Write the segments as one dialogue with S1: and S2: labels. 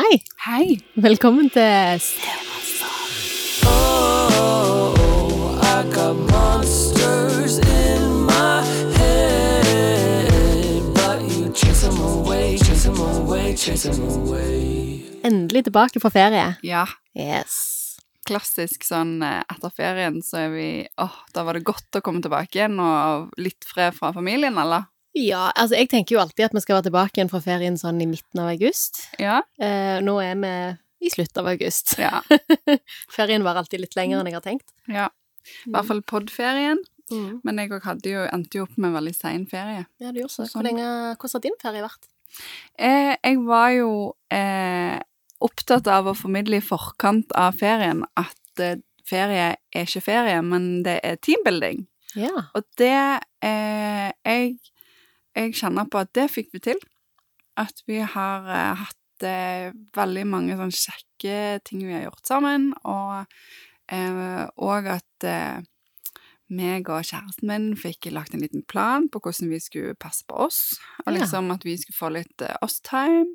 S1: Hei!
S2: Hei.
S1: Velkommen til Se Endelig tilbake fra ferie.
S2: Ja,
S1: Yes.
S2: klassisk sånn eh, etter ferien så er vi Åh, da var det godt å komme tilbake igjen og litt fred fra familien, eller?
S1: Ja, altså jeg tenker jo alltid at vi skal være tilbake igjen fra ferien sånn i midten av august.
S2: Ja.
S1: Eh, nå er vi i slutt av august.
S2: Ja.
S1: Ferien var alltid litt lenger enn jeg har tenkt.
S2: ja. I hvert fall podferien.
S1: Mm.
S2: Men jeg òg hadde jo endte jo opp med en veldig sein ferie.
S1: Ja, det gjorde så.
S2: Sånn.
S1: Hvor lenge, hvordan har din ferie vært?
S2: Eh, jeg var jo eh, opptatt av å formidle i forkant av ferien at eh, ferie er ikke ferie, men det er teambuilding.
S1: Ja.
S2: Og det eh, jeg, jeg kjenner på at det fikk vi til. At vi har eh, hatt eh, veldig mange sånn kjekke ting vi har gjort sammen, og, eh, og at eh, meg og kjæresten min fikk lagt en liten plan på hvordan vi skulle passe på oss, og
S1: Ja.
S2: liksom at vi skulle få litt eh, oss-time.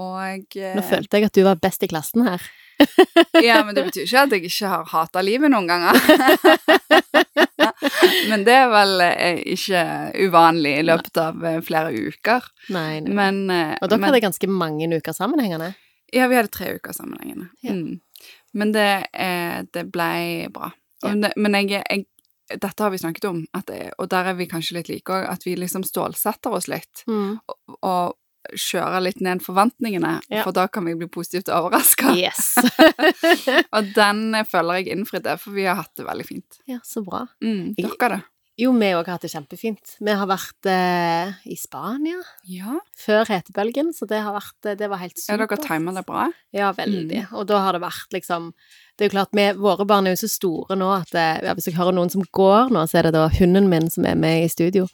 S2: Og eh,
S1: Nå følte jeg at du var best i klassen her.
S2: ja, men det betyr ikke at jeg ikke har hata livet noen ganger. men det er vel eh, ikke uvanlig i løpet av eh, flere uker.
S1: Nei, nei.
S2: Men, eh,
S1: Og dere
S2: men
S1: hadde ganske mange uker sammenhengende.
S2: Ja, vi hadde tre uker sammenhengende.
S1: Ja.
S2: Mm. Men det, eh, det ble bra. Og
S1: Ja.
S2: det- Men jeg, jeg dette har vi snakket om, at, det- og der er vi kanskje litt like òg, at vi liksom stålsetter oss litt.
S1: Mm.
S2: Og, og kjører litt ned forventningene,
S1: Ja.
S2: for da kan vi bli positivt overraska.
S1: Yes!
S2: Og den eh, føler jeg innfridde, for vi har hatt det veldig fint.
S1: ja, så bra.
S2: Mm,
S1: Jeg-
S2: dere det?
S1: Jo, vi òg har hatt det kjempefint. Vi har vært eh, i Spania
S2: Ja.
S1: før hetebølgen, så det, har vært, eh, det var helt
S2: ja
S1: supert.
S2: dere Mm. timer det bra?
S1: Ja, veldig. Og da har det vært liksom Det er jo klart, vi, våre barn er jo så store nå at eh, ja, Hvis jeg hører noen som går nå, så er det da hunden min som er med i studio.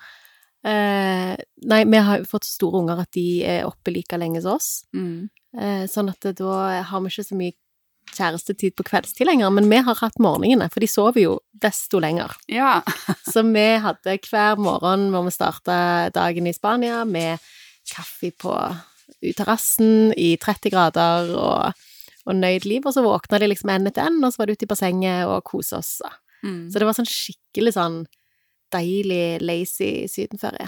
S1: Eh, nei, vi har jo fått så store unger at de er oppe like lenge som oss.
S2: Mm.
S1: Eh, sånn at det, da har vi ikke så mye kjærestetid på kveldstid lenger, men vi har hatt morgenene, for de sover jo desto lenger.
S2: Ja.
S1: Så vi hadde hver morgen når vi starta dagen i Spania, med kaffe på i terrassen i 30 grader og, og nøyd liv, og så våkna de liksom en etter en, og så var det ute i bassenget og kose oss. da.
S2: Mm.
S1: Så det var sånn skikkelig sånn deilig, lazy sydenferie.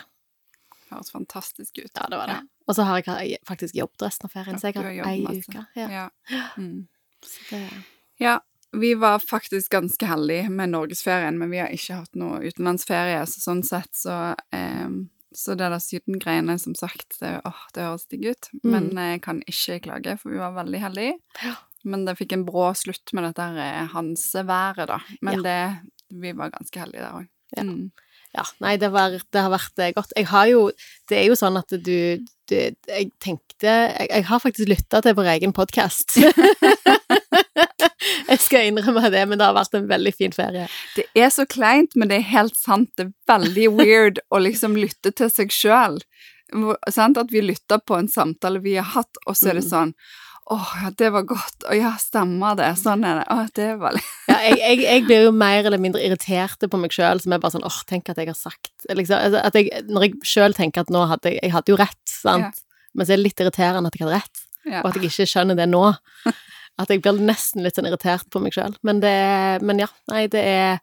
S2: Høres fantastisk ut.
S1: Ja, det var det. Og så har jeg ha- faktisk jobbet resten av ferien, så jeg
S2: Ja,
S1: har
S2: du har
S1: ei
S2: jobbet masse.
S1: uke. Ja.
S2: Ja. Mm.
S1: Så det,
S2: ja. Vi var faktisk ganske heldige med norgesferien, men vi har ikke hatt noe utenlandsferie, så sånn sett så eh, Så det der Syden-greiene, som sagt, det, åh, det høres digg ut. Men eh, jeg kan ikke klage, for vi var veldig heldige.
S1: Mm. Ja.
S2: Men det fikk en brå slutt med dette her, eh, Hanseværet, da.
S1: Ja.
S2: Men det Vi var ganske heldige der òg.
S1: Ja.
S2: Mm.
S1: Ja, nei, det, var, det har vært eh, godt. Jeg har jo Det er jo sånn at du, du Jeg tenkte Jeg, jeg har faktisk lytta til vår egen podkast. jeg skal innrømme det, men det har vært en veldig fin ferie.
S2: Det er så kleint, men det er helt sant. Det er veldig weird å liksom lytte til seg sjøl. Sant? At vi lytter på en samtale vi har hatt, og så er det
S1: Mm.
S2: sånn Åh, ja, det var godt. Å ja, stemmer det. Sånn er det. Å, det var litt
S1: Ja, jeg, jeg, jeg blir jo mer eller mindre irritert på meg sjøl, som er bare sånn åh, tenk at jeg har sagt liksom, altså, at jeg, Når jeg sjøl tenker at nå hadde jeg Jeg hadde jo rett, sant?
S2: Ja.
S1: Men så er det litt irriterende at jeg hadde rett.
S2: ja.
S1: og at jeg ikke skjønner det nå. At jeg blir nesten litt sånn irritert på meg sjøl. Men, det- men ja, nei, det er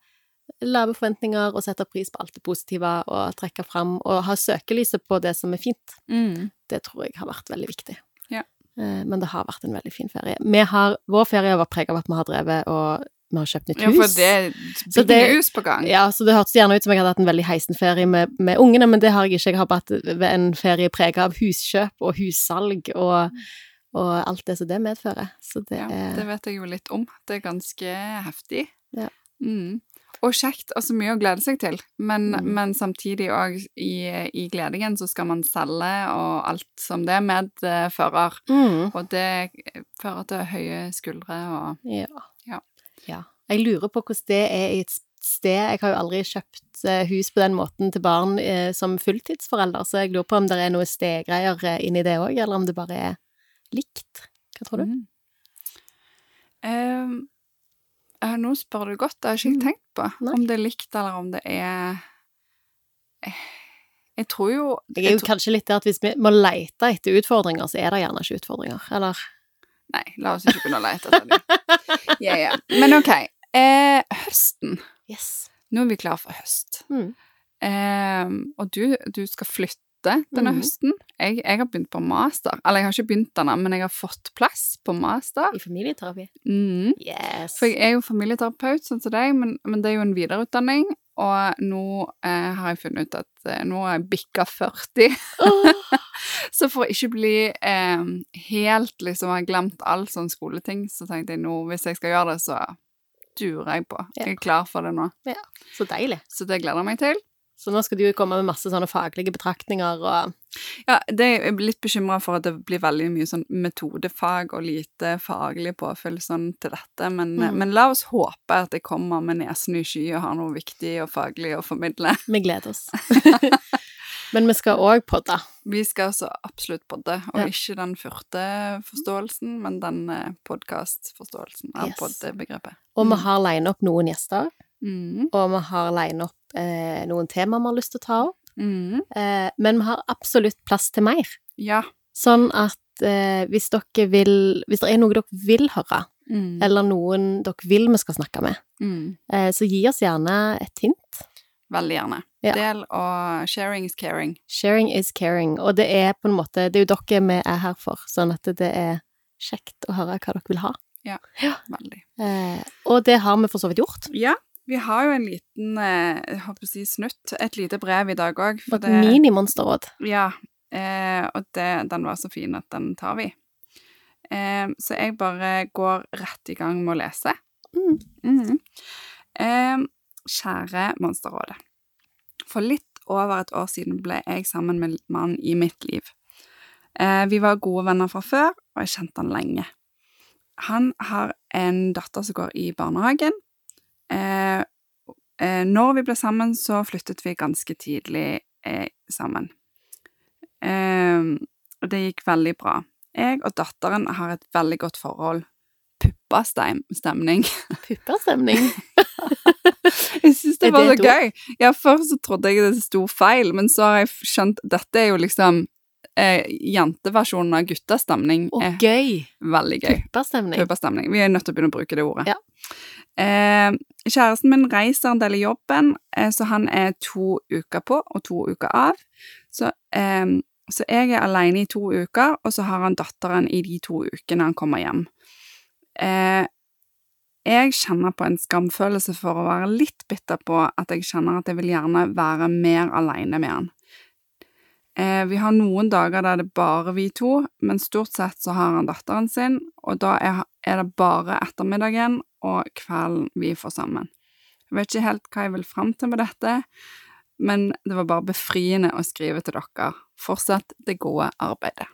S1: lave forventninger og sette pris på alt det positive og trekke fram og ha søkelyset på det som er fint.
S2: Mm.
S1: Det tror jeg har vært veldig viktig.
S2: Ja.
S1: Eh, Men det har vært en veldig fin ferie. Vi har, vår ferie har vært preget av at vi har drevet og vi har kjøpt nytt
S2: ja,
S1: hus.
S2: for det er
S1: Så det-
S2: big news på gang.
S1: Ja, så det hørtes gjerne ut som jeg hadde hatt en veldig heisen ferie med, med ungene, men det har jeg ikke. Jeg har bare hatt en ferie preget av huskjøp og hussalg og, og alt det som det medfører. Så det
S2: Ja,
S1: er
S2: det vet jeg jo litt om. Det er ganske heftig.
S1: Ja.
S2: Mm. Og kjekt, altså mye å glede seg til, men,
S1: Mm.
S2: men samtidig òg i, i gledingen så skal man selge og alt som det eh, medfører.
S1: mm,
S2: Og det eh, fører til høye skuldre og
S1: ja.
S2: Ja.
S1: Ja. Jeg lurer på hvordan det er i et sted. Jeg har jo aldri kjøpt eh, hus på den måten til barn eh, som fulltidsforelder, så jeg lurer på om det er noe stedgreier eh, inni det òg, eller om det bare er likt. Hva tror du?
S2: Mm. Ehm, eh, nå spør du godt, det har jeg ikke
S1: Mm.
S2: tenkt på.
S1: Nei.
S2: Om det er likt, eller om det er Eh, Jeg tror jo
S1: Jeg er
S2: jeg
S1: jo kanskje litt der at hvis vi må lete etter utfordringer, så er det gjerne ikke utfordringer, eller?
S2: Nei, la oss ikke begynne å lete etter dem. Ja, ja. Men ok. Eh, høsten.
S1: Yes.
S2: Nå er vi klar for høst.
S1: Mm.
S2: Eh, og du, du skal flytte denne
S1: Mhm.
S2: høsten. Jeg, jeg har begynt på master. Eller jeg har ikke begynt denne, men jeg har fått plass på master.
S1: I familieterapi.
S2: Mhm.
S1: Yes.
S2: For jeg er jo familieterapeut, sånn som deg, men, men det er jo en videreutdanning. Og nå eh, har jeg funnet ut at eh, nå er jeg bikka 40.
S1: Åh,
S2: Så for å ikke bli eh, helt liksom ha glemt all sånn skoleting, så tenkte jeg nå, hvis jeg skal gjøre det, så durer jeg på.
S1: Ja.
S2: Jeg er klar for det nå.
S1: så deilig.
S2: Så det gleder jeg meg til.
S1: Så nå skal du jo komme med masse sånne faglige betraktninger og
S2: Ja, det er jeg litt bekymra for at det blir veldig mye sånn metodefag og lite faglig påfyll sånn til dette, men,
S1: Mm.
S2: men la oss håpe at jeg kommer med nesen i sky og har noe viktig og faglig å formidle.
S1: Vi gleder oss. Men vi skal òg podde.
S2: Vi skal altså absolutt podde, og
S1: Ja.
S2: ikke den furteforståelsen, men den eh, podkastforståelsen av
S1: Yes.
S2: poddebegrepet.
S1: Og vi
S2: Mm.
S1: har lina opp noen gjester,
S2: Mm.
S1: og vi har lina opp eh, noen tema vi har lyst til å ta opp.
S2: Mm.
S1: Eh, men vi har absolutt plass til mer.
S2: Ja.
S1: Sånn at eh, hvis dere vil Hvis det er noe dere vil høre,
S2: Mm.
S1: eller noen dere vil vi skal snakke med,
S2: Mm.
S1: eh, så gi oss gjerne et hint.
S2: Veldig gjerne.
S1: Ja.
S2: Del og sharing is caring.
S1: Sharing is caring, og det er på en måte Det er jo dere vi er her for, sånn at det er kjekt å høre hva dere vil ha.
S2: Veldig.
S1: Eh, og det har vi for så vidt gjort.
S2: Ja, vi har jo en liten eh, jeg håper å si snutt, et lite brev i dag òg.
S1: Et mini-monsterråd.
S2: Ja, eh, og det, den var så fin at den tar vi. Eh, så jeg bare går rett i gang med å lese.
S1: Mm.
S2: Mhm. Eh, kjære Monsterrådet. For litt over et år siden ble jeg sammen med mannen i mitt liv. Eh, vi var gode venner fra før, og jeg kjente han lenge. Han har en datter som går i barnehagen. Eh, eh, når vi ble sammen, så flyttet vi ganske tidlig eh, sammen. Eh, og det gikk veldig bra. Jeg og datteren har et veldig godt forhold. Puppastemning.
S1: Puppestemning.
S2: Jeg syns det
S1: Er
S2: var så
S1: det et
S2: gøy. Ja, Først så trodde jeg det sto feil, men så har jeg f- skjønt Dette er jo liksom eh, jenteversjonen av guttastemning.
S1: Og
S2: er
S1: gøy!
S2: veldig gøy.
S1: Puppestemning.
S2: Puppastemning. Vi er nødt til å begynne å bruke det ordet.
S1: Ja.
S2: Eh, kjæresten min reiser en del i jobben, eh, så han er to uker på og to uker av. Så, eh, så jeg er alene i to uker, og så har han datteren i de to ukene han kommer hjem. Eh, jeg kjenner på en skamfølelse for å være litt bitter på at jeg kjenner at jeg vil gjerne være mer alene med han. Eh, vi har noen dager der det bare vi to, men stort sett så har han datteren sin, og da er, er det bare ettermiddagen og kvelden vi får sammen. Jeg vet ikke helt hva jeg vil fram til med dette, men det var bare befriende å skrive til dere. Fortsett det gode arbeidet.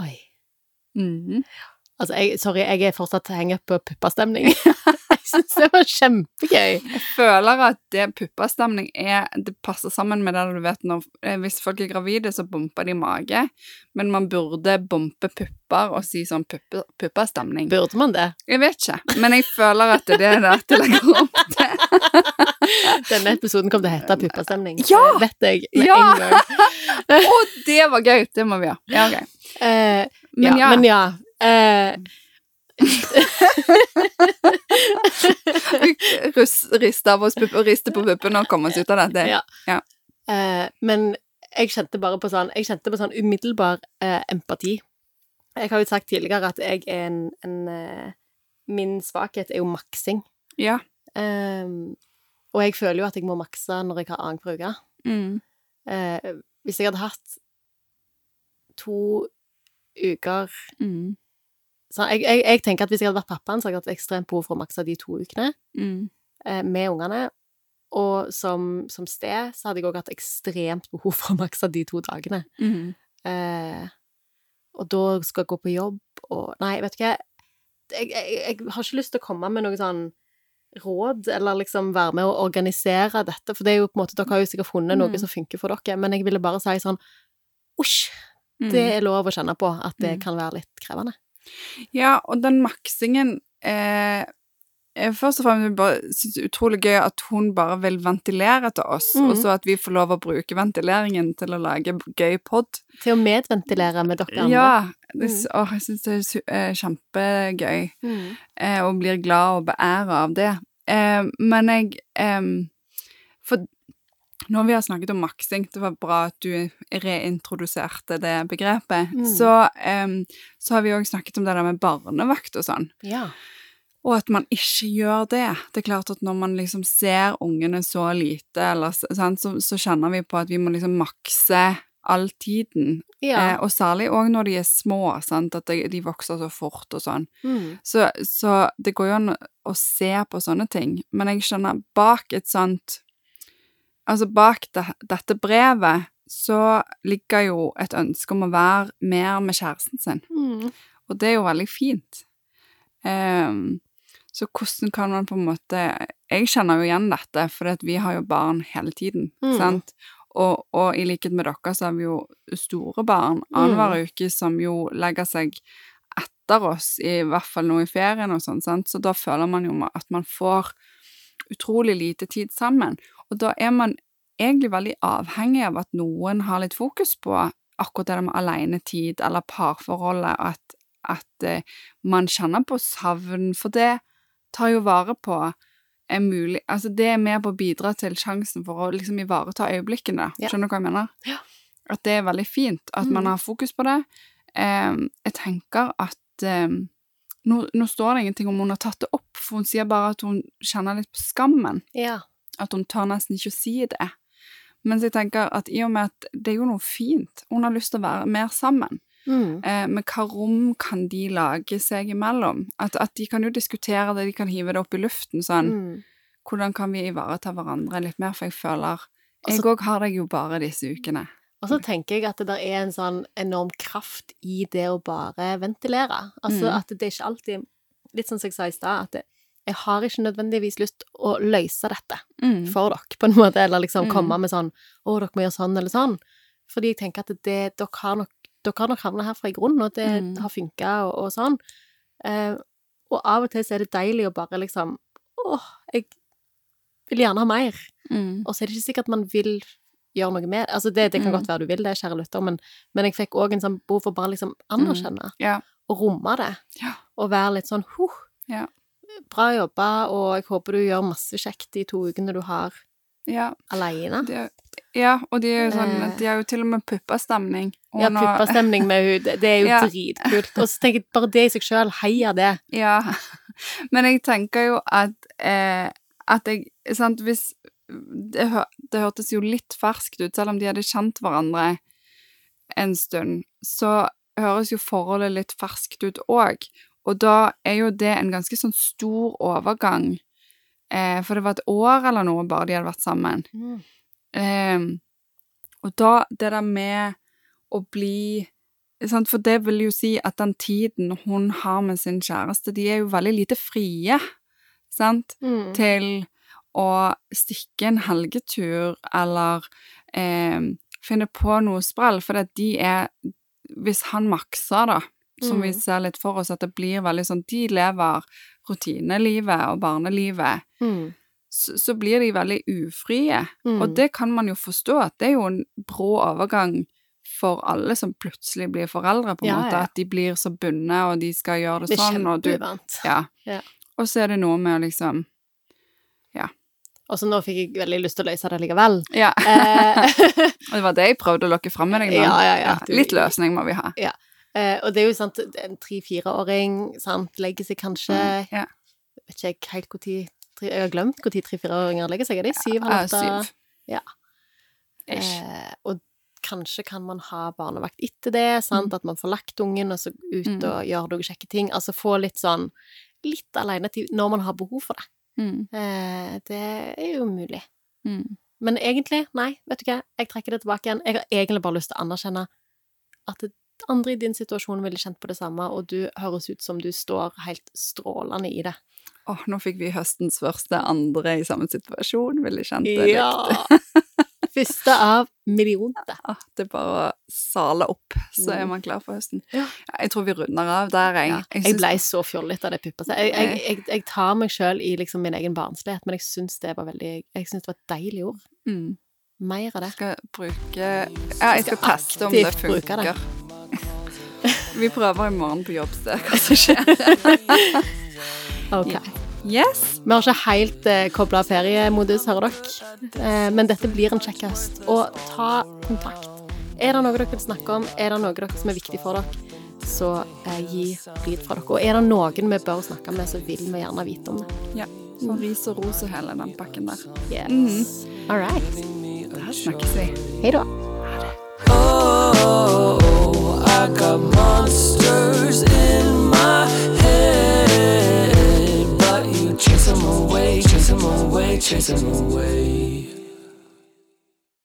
S1: Oi. Altså, jeg, sorry, jeg er fortsatt hengt på puppestemning. jeg syns det var kjempegøy.
S2: Jeg føler at det puppastemning er Det passer sammen med det du vet når eh, Hvis folk er gravide, så bumper de mage, men man burde bumpe pupper og si sånn puppe, puppastemning.
S1: Burde man det?
S2: Jeg vet ikke, men jeg føler at det er det dette legger opp til.
S1: Denne episoden kom til å hete puppestemning.
S2: Ja!
S1: Det vet jeg med
S2: Ja!
S1: en gang.
S2: Og det var gøy! Det må vi ha. Ja, ok.
S1: Eh,
S2: Men ja,
S1: Men ja. Eh,
S2: rus- riste av oss pupp- riste på puppene og komme oss ut av dette.
S1: Ja.
S2: Ja.
S1: eh, men jeg kjente bare på sånn Jeg kjente på sånn umiddelbar eh, empati. Jeg har jo sagt tidligere at jeg er en, en eh, Min svakhet er jo maksing.
S2: Ja.
S1: Ehm, og jeg føler jo at jeg må makse når jeg har annenhver uke.
S2: Mm.
S1: Eh, hvis jeg hadde hatt to uker
S2: Mm.
S1: så jeg, jeg, jeg tenker at hvis jeg hadde vært pappaen, så hadde jeg hatt ekstremt behov for å makse de to ukene
S2: Mm.
S1: eh, med ungene. Og som, som sted så hadde jeg òg hatt ekstremt behov for å makse de to dagene.
S2: Mm.
S1: Eh, og da skal jeg gå på jobb og Nei, vet du hva. Jeg, jeg, jeg har ikke lyst til å komme med noe sånn råd, eller liksom være med å organisere dette, for det er jo på en måte, dere har jo sikkert funnet noe
S2: Mm.
S1: som funker for dere, men jeg ville bare si sånn Osj!
S2: Mm.
S1: Det er lov å kjenne på at det
S2: Mm.
S1: kan være litt krevende.
S2: Ja, og den maksingen eh, eh, først og fremst bare synes det er utrolig gøy at hun bare vil ventilere til oss,
S1: Mhm.
S2: og så at vi får lov å bruke ventileringen til å lage gøy pod.
S1: Til å medventilere med dere andre.
S2: Ja, det, s- åh, jeg synes det er su- eh, kjempegøy,
S1: Mm.
S2: eh, og blir glad og beæret av det. Eh, men jeg, em, for når vi har snakket om maksing, det var bra at du reintroduserte det begrepet,
S1: Mhm.
S2: så, em, så har vi også snakket om det der med barnevakt og sånn.
S1: Ja.
S2: Og at man ikke gjør det. Det er klart at når man liksom ser ungene så lite, eller, s- sant, så, så kjenner vi på at vi må liksom makse all tiden.
S1: ja.
S2: Eh, og særlig òg når de er små, sant, at de, de vokser så fort og sånn.
S1: Mm.
S2: Så, så det går jo an å se på sånne ting. Men jeg skjønner, bak et sånt Altså, bak det, dette brevet så ligger jo et ønske om å være mer med kjæresten sin.
S1: Mm.
S2: Og det er jo veldig fint. Ehm, så hvordan kan man på en måte Jeg kjenner jo igjen dette, for at vi har jo barn hele tiden.
S1: Mm.
S2: sant? Og, og i likhet med dere så har vi jo store barn annenhver uke som jo legger seg etter oss, i hvert fall nå i ferien og sånn, sant? så da føler man jo ma- at man får utrolig lite tid sammen. Og da er man egentlig veldig avhengig av at noen har litt fokus på akkurat det med alenetid eller parforholdet, at at eh, man kjenner på savn, for det tar jo vare på en mulig Altså, det er med på å bidra til sjansen for å liksom ivareta øyeblikkene.
S1: Ja.
S2: Skjønner du hva jeg mener?
S1: Ja.
S2: At det er veldig fint at
S1: Mm.
S2: man har fokus på det. Em, jeg tenker at em, nå, nå står det ingenting om hun har tatt det opp, for hun sier bare at hun kjenner litt på skammen.
S1: ja.
S2: At hun tør nesten ikke å si det. Mens jeg tenker at i og med at det er jo noe fint, hun har lyst til å være mer sammen.
S1: Mm.
S2: Eh, men hva rom kan de lage seg imellom? At, at de kan jo diskutere det, de kan hive det opp i luften sånn.
S1: Mm.
S2: Hvordan kan vi ivareta hverandre litt mer? For jeg føler Jeg
S1: Altså-
S2: òg har deg jo bare disse ukene.
S1: Og så tenker jeg at det der er en sånn enorm kraft i det å bare ventilere. Altså
S2: Mm.
S1: at det er ikke alltid Litt sånn som jeg sa i stad, at det, jeg har ikke nødvendigvis lyst å løse dette
S2: Mm.
S1: for dere, på en måte, eller liksom
S2: Mm.
S1: komme med sånn 'Å, dere må gjøre sånn eller sånn'. Fordi jeg tenker at det, dere har nok dere har nok havna her fra i grunnen, og det
S2: Mm.
S1: har funka og, og sånn. Eh, og av og til så er det deilig å bare liksom Åh, jeg vil gjerne ha mer.
S2: Mm.
S1: Og så er det ikke sikkert man vil gjøre noe med det. Altså det, det kan
S2: Mm.
S1: godt være du vil det, kjære lytter, men, men jeg fikk òg en sånn behov for bare liksom anerkjenne
S2: Mm. Ja.
S1: og romme det.
S2: Ja.
S1: Og være litt sånn huh,
S2: Ja.
S1: bra jobba, og jeg håper du gjør masse kjekt de to ukene du har
S2: Ja,
S1: aleine.
S2: det, ja, og de er jo sånn
S1: Eh.
S2: De har jo til og med puppastemning. Og
S1: Ja,
S2: nå-
S1: puppastemning med hud, det er jo
S2: Ja.
S1: dritkult. Og så tenker jeg bare det i seg sjøl, heia det.
S2: Ja, men jeg tenker jo at, eh, at jeg sant, hvis, det, hø- det hørtes jo litt ferskt ut, selv om de hadde kjent hverandre en stund, så høres jo forholdet litt ferskt ut òg. Og da er jo det en ganske sånn stor overgang, eh, for det var et år eller noe bare de hadde vært sammen. Ehm, og da det der med å bli sant? For det vil jo si at den tiden hun har med sin kjæreste, de er jo veldig lite frie sant?
S1: Mm.
S2: til å stikke en helgetur eller ehm, finne på noe sprell. For at de er Hvis han makser, da, som vi
S1: Mm.
S2: ser litt for oss, at det blir veldig sånn De lever rutinelivet og barnelivet.
S1: Mm.
S2: Så, så blir de veldig ufrie.
S1: Mm.
S2: Og det kan man jo forstå, at det er jo en brå overgang for alle som plutselig blir foreldre, på en
S1: Ja,
S2: måte.
S1: ja.
S2: At de blir så bundet, og de skal gjøre det,
S1: det er
S2: sånn, og du
S1: kjempeuvant.
S2: ja.
S1: Ja.
S2: Og så er det noe med å liksom
S1: Og så nå fikk jeg veldig lyst til å løse det likevel.
S2: Ja.
S1: Eh,
S2: Og det var det jeg prøvde å lokke fram med deg nå.
S1: Ja, ja, ja. Du-
S2: Litt løsning må vi ha.
S1: Eh, og det er jo sant, en tre-fireåring sant, legger seg kanskje
S2: Mm. Ja.
S1: Vet ikke jeg helt når Jeg har glemt når tre-fireåringer legger seg. Er de syv,
S2: Ja,
S1: halv åtte?
S2: syv.
S1: Ja.
S2: Ish.
S1: Eh, og kanskje kan man ha barnevakt etter det, sant?
S2: Mm.
S1: at man får lagt ungen og så ut
S2: Mm.
S1: og gjør noen kjekke ting. Altså få litt sånn litt alenetid når man har behov for det.
S2: Mm,
S1: Eh, det er jo mulig.
S2: mm,
S1: Men egentlig, nei, vet du hva, jeg trekker det tilbake igjen. Jeg har egentlig bare lyst til å anerkjenne at andre i din situasjon ville kjent på det samme, og du høres ut som du står helt strålende i det.
S2: Åh, nå fikk vi høstens første andre i samme situasjon, ville kjent det likt.
S1: Ja! Første av millionte.
S2: Ah, det er bare å sale opp, så er man klar for høsten.
S1: Mm. Ja.
S2: Jeg tror vi runder av der. Jeg,
S1: Ja.
S2: jeg
S1: Jeg
S2: synes-
S1: blei så fjollete av det puppastet. Jeg, jeg, jeg, jeg tar meg sjøl i liksom min egen barnslighet, men jeg syns det var veldig Jeg syns det var et deilig ord.
S2: mm,
S1: Mer av det.
S2: skal bruke Ja, jeg
S1: Skal
S2: skal teste om det
S1: aktivt bruke
S2: funker.
S1: det.
S2: vi prøver i morgen på jobb, så hva som skjer.
S1: Ok.
S2: Ja. Yes!
S1: Vi har ikke helt eh, kobla feriemodus, hører dere. Eh, men dette blir en kjekk høst. Og ta kontakt. Er det noe dere vil snakke om, er det noe dere som er viktig for dere, så eh, gi lyd fra dere. Og er det noen vi bør snakke med, så vil vi gjerne vite om det.
S2: Ja. Sånn ris og ros og hele den pakken der.
S1: Yes. All right.
S2: Der snakkes vi.
S1: Hei da.
S3: Oh, I got monsters in my head, but you chase 'em away, chase 'em away, chase 'em away.